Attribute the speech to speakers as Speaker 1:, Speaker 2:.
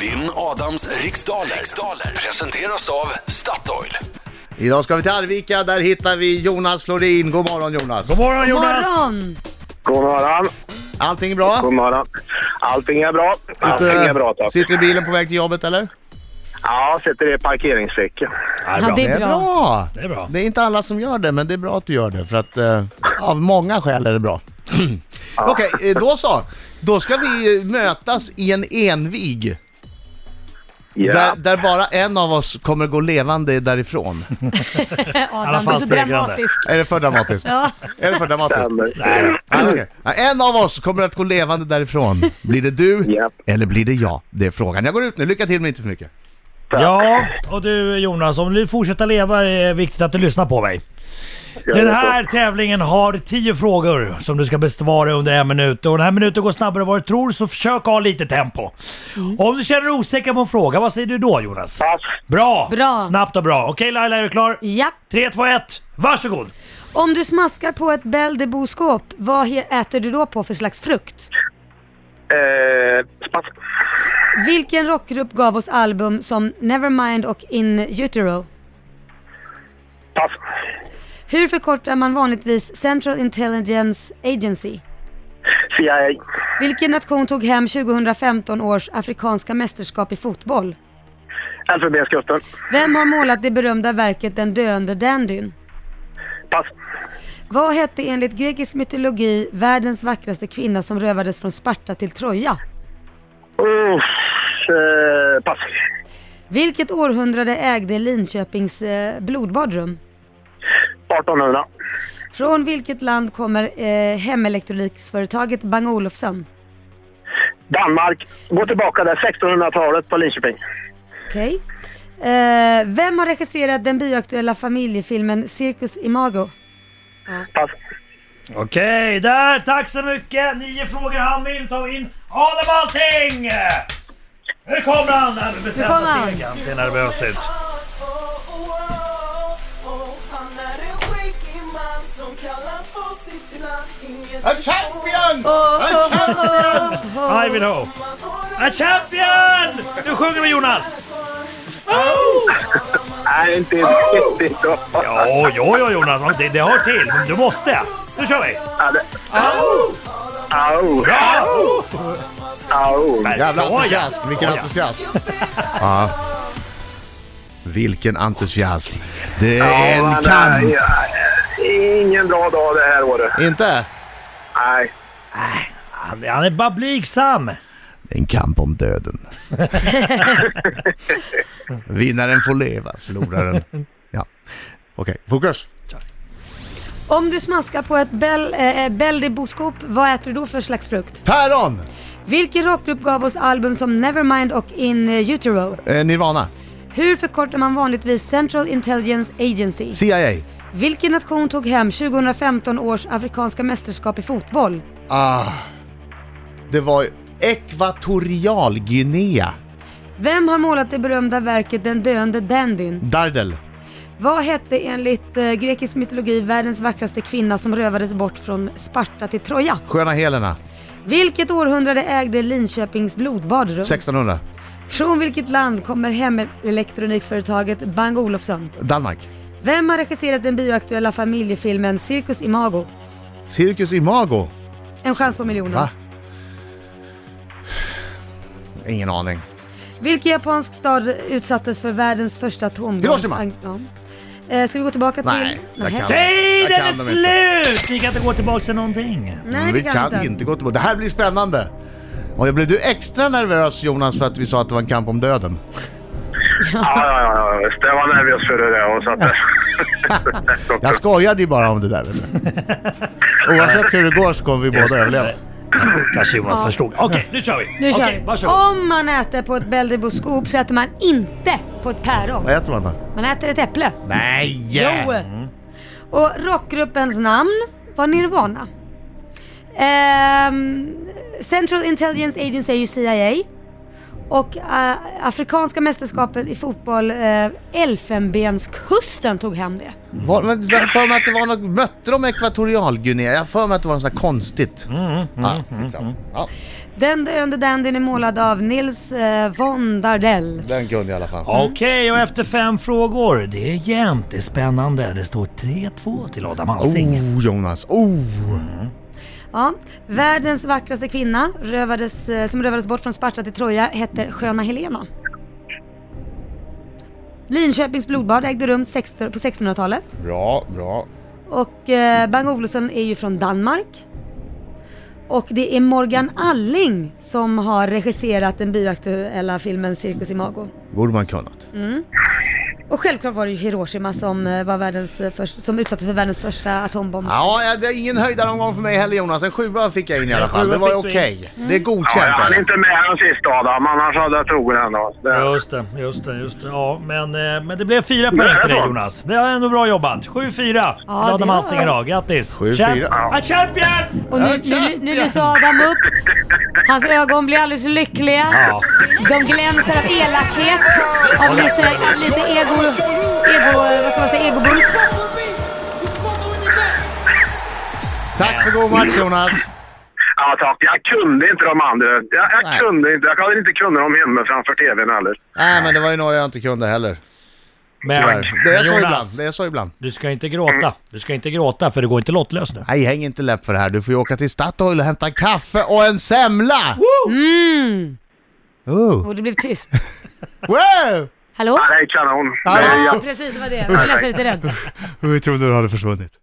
Speaker 1: Vinn Adams riksdaler. riksdaler presenteras av Statoil.
Speaker 2: Idag ska vi till Arvika, där hittar vi Jonas Florin. God morgon Jonas!
Speaker 3: God morgon
Speaker 4: God
Speaker 3: Jonas!
Speaker 4: morgon!
Speaker 5: God morgon.
Speaker 2: Allting bra?
Speaker 5: God morgon. Allting är bra. Allting
Speaker 2: Ute-
Speaker 5: är bra, tack.
Speaker 2: Sitter du i bilen på väg till jobbet eller?
Speaker 5: Ja, sitter i parkeringsfickan.
Speaker 4: Ja, det är bra.
Speaker 2: bra!
Speaker 3: Det är bra.
Speaker 2: Det är inte alla som gör det, men det är bra att du gör det för att eh, av många skäl är det bra. Okej, eh, då så. Då ska vi eh, mötas i en envig.
Speaker 5: Ja.
Speaker 2: Där, där bara en av oss kommer gå levande därifrån.
Speaker 4: Adam, du är
Speaker 3: fall
Speaker 4: så
Speaker 3: segrande.
Speaker 4: dramatisk.
Speaker 2: Är det för dramatiskt?
Speaker 4: Ja.
Speaker 2: Är det för dramatiskt?
Speaker 5: Stämmer. Mm.
Speaker 2: Ja, Ah, okej. Ja, En av oss kommer att gå levande därifrån. Blir det du
Speaker 5: Ja.
Speaker 2: eller blir det jag? Det är frågan. Jag går ut nu. Lycka till men inte för mycket.
Speaker 3: Ja, och du Jonas, om du fortsätter leva är det viktigt att du lyssnar på mig.
Speaker 5: Ja,
Speaker 3: Den
Speaker 5: det är så.
Speaker 3: här tävlingen har 10 frågor som du ska besvara under en minut. Och den här minuten går snabbare än vad du tror, så försök ha lite tempo. Om du känner dig osäker på en fråga, vad säger du då Jonas?
Speaker 5: Pass.
Speaker 3: Bra!
Speaker 4: Bra.
Speaker 3: Snabbt och bra. Okej Laila, är du klar?
Speaker 4: Japp.
Speaker 3: 3, 2, 1, varsågod!
Speaker 4: Om du smaskar på ett Belle-de-Boskop, vad he- äter du då på för slags frukt?
Speaker 5: Eh, pass.
Speaker 4: Vilken rockgrupp gav oss album som Nevermind och In Utero?
Speaker 5: Pass.
Speaker 4: Hur förkortar man vanligtvis Central Intelligence Agency?
Speaker 5: CIA.
Speaker 4: Vilken nation tog hem 2015 års afrikanska mästerskap i fotboll?
Speaker 5: Elfenbenskusten.
Speaker 4: Vem har målat det berömda verket Den döende dandyn?
Speaker 5: Pass.
Speaker 4: Vad hette enligt grekisk mytologi världens vackraste kvinna som rövades från Sparta till Troja?
Speaker 5: Uff. Eh, pass.
Speaker 4: Vilket århundrade ägde Linköpings eh, blodbadrum?
Speaker 5: 1800.
Speaker 4: Från vilket land kommer eh, hemelektroniksföretaget Bang Olufsen?
Speaker 5: Danmark. Gå tillbaka där, 1600-talet på Linköping.
Speaker 4: Okej. Eh, vem har regisserat den bioaktuella familjefilmen Circus Imago?
Speaker 5: Pass.
Speaker 3: Okej, där! Tack så mycket! Nio frågor hann vi inte ta in. Adam Alsing! Nu kommer han här med
Speaker 4: Nu kommer
Speaker 3: bestämda
Speaker 4: han.
Speaker 3: steg. Han ser nervös ut.
Speaker 6: Han är en skäggig man som kallas på sitt namn Inget
Speaker 2: A champion!
Speaker 3: Ivanhoe. A champion! Nu sjunger vi Jonas!
Speaker 5: Nej, inte riktigt.
Speaker 3: Ja, ja, ja Jonas. Det, det hör till. Men du måste. Nu kör vi!
Speaker 5: Ja, det- Au!
Speaker 3: Bra!
Speaker 5: Au!
Speaker 2: Jävla
Speaker 3: Såja.
Speaker 2: entusiasm, vilken
Speaker 3: Såja.
Speaker 2: entusiasm. ja. Vilken entusiasm. Det är
Speaker 5: Ja,
Speaker 2: en
Speaker 5: men,
Speaker 2: kamp.
Speaker 5: eh, ja, Ingen bra dag det här året.
Speaker 2: Inte?
Speaker 5: Nej.
Speaker 3: Han, han är bara blygsam.
Speaker 2: En kamp om döden. Vinnaren får leva, förloraren. Ja. Okej, fokus.
Speaker 4: Om du smaskar på ett bell, eh, bell de boskop, vad äter du då för slags frukt?
Speaker 2: Päron!
Speaker 4: Vilken rockgrupp gav oss album som Nevermind och In Utero?
Speaker 2: Eh, Nirvana.
Speaker 4: Hur förkortar man vanligtvis Central Intelligence Agency?
Speaker 2: CIA.
Speaker 4: Vilken nation tog hem 2015 års afrikanska mästerskap i fotboll?
Speaker 2: Ah. Det var Ekvatorialguinea.
Speaker 4: Vem har målat det berömda verket Den döende dandyn?
Speaker 2: Dardel.
Speaker 4: Vad hette enligt eh, grekisk mytologi världens vackraste kvinna som rövades bort från Sparta till Troja?
Speaker 2: Sköna Helena.
Speaker 4: Vilket århundrade ägde Linköpings blodbadrum?
Speaker 2: 1600.
Speaker 4: Från vilket land kommer hemelektroniksföretaget Bang Olufsen?
Speaker 2: Danmark.
Speaker 4: Vem har regisserat den bioaktuella familjefilmen Cirkus Imago?
Speaker 2: Cirkus Imago.
Speaker 4: En chans på miljonen.
Speaker 2: Va? Ingen aning.
Speaker 4: Vilken japansk stad utsattes för världens första atombomb?
Speaker 2: Hiroshima.
Speaker 4: Ja. Eh, ska vi gå tillbaka till...
Speaker 2: Nej, jag
Speaker 4: Nähä.
Speaker 2: kan. Jag
Speaker 3: Tiden
Speaker 2: kan
Speaker 3: är
Speaker 2: dem inte.
Speaker 3: slut! Ni kan inte gå tillbaka till någonting.
Speaker 4: Nej,
Speaker 2: Mm, vi
Speaker 4: det kan vi
Speaker 2: kan
Speaker 4: inte.
Speaker 2: inte gå tillbaka. Det här blir spännande. Och jag blev du extra nervös Jonas för att vi sa att det var en kamp om döden?
Speaker 5: Ja, ja, ja, ja. visst. Jag var nervös för det där. Och så att
Speaker 2: Jag skojade ju bara om det där. vet du. Oavsett hur det går så kommer vi båda överleva.
Speaker 3: Kanske Jonas förstod. Okej, nu kör vi.
Speaker 4: Nu kör
Speaker 3: Okej,
Speaker 4: vi.
Speaker 3: varsågod.
Speaker 4: Om man äter på ett Belderboskop så äter man inte på ett päron.
Speaker 2: Vad äter man då?
Speaker 4: Man äter ett äpple.
Speaker 2: Nej! Mm.
Speaker 4: Jo! Och rockgruppens namn var Nirvana. Ehm, Central Intelligence Agency är ju CIA. Och eh, Afrikanska mästerskapen i fotboll, eh, Elfenbenskusten tog hem det.
Speaker 2: Var, men, jag har för mig att det var något,
Speaker 3: Mm,
Speaker 2: mötte de Ekvatorialguinea? Jag har för mig att det var något sånt här konstigt. Ja, liksom. ja.
Speaker 4: Den döende dandyn är målad av Nils eh, von Dardell.
Speaker 2: Den kunde jag i alla fall.
Speaker 3: Okej, och efter fem frågor. Det är jämnt, det är spännande. Det står 3-2 till Adam Alsing.
Speaker 2: Oh, Jonas. Oh!
Speaker 4: Ja. Världens vackraste kvinna rövades, eh, som rövades bort från Sparta till Troja hette Sköna Helena. Linköpings blodbad ägde rum 16 på 1600-talet.
Speaker 2: Bra, bra.
Speaker 4: Och eh, Bang Olufsen är ju från Danmark. Och det är Morgan Alling som har regisserat den bioaktuella filmen Cirkus Imago.
Speaker 2: borde man kunnat.
Speaker 4: Och självklart var det ju Hiroshima som, eh, var världens eh, först, som utsattes för världens första atombomb.
Speaker 2: Ja, ja, det är ingen höjdaromgång för mig heller Jonas. En sjua fick jag in i alla
Speaker 3: En
Speaker 2: fall.
Speaker 3: sjua
Speaker 2: Det var ju
Speaker 3: fick du in. Mm.
Speaker 2: okej. Det är
Speaker 5: Ja,
Speaker 2: godkänt.
Speaker 5: jag hann
Speaker 2: eller?
Speaker 5: inte med den sista Adam, annars hade jag trogen ändå. Det,
Speaker 3: Just det, just det, just det. Ja, men, eh, men det blev fyra poäng till dig Jonas. Det är ändå bra jobbat. 7-4 till
Speaker 4: det
Speaker 3: Adam
Speaker 4: var-
Speaker 3: Alsing idag. Grattis!
Speaker 2: 7-4.
Speaker 3: Champ-
Speaker 2: Ja.
Speaker 3: Ah, Champion!
Speaker 4: Och nu, nu, nu lyser Adam upp. Hans ögon blir alldeles lyckliga.
Speaker 3: Ja.
Speaker 4: De glänser av elakhet, av lite, av lite ego, ego, vad ska man säga, egoboost.
Speaker 2: Tack för god match Jonas.
Speaker 5: ja, tack. Jag kunde inte de andra. Jag, jag
Speaker 2: Nej.
Speaker 5: kunde inte. Jag hade inte kunnat dem hemma framför tvn heller.
Speaker 2: Nej, men det var ju några jag inte kunde heller.
Speaker 3: Men,
Speaker 2: Tyvärr. Det är
Speaker 3: men
Speaker 2: så ibland.
Speaker 3: Jonas,
Speaker 2: Det är så ibland.
Speaker 3: du ska inte gråta. Du ska inte gråta för det går inte lottlöst nu.
Speaker 2: Nej, häng inte läpp för det här. Du får ju åka till Statoil och hämta en kaffe och en semla!
Speaker 4: Mm.
Speaker 2: Oh.
Speaker 4: Och det blev tyst.
Speaker 2: Wow!
Speaker 4: Hallå?
Speaker 5: Ja, det är kanon. Det är
Speaker 2: Ja,
Speaker 4: Ja,
Speaker 5: jätte-
Speaker 4: precis det var det. Jag vill läsa lite den.
Speaker 2: Vi trodde du hade försvunnit.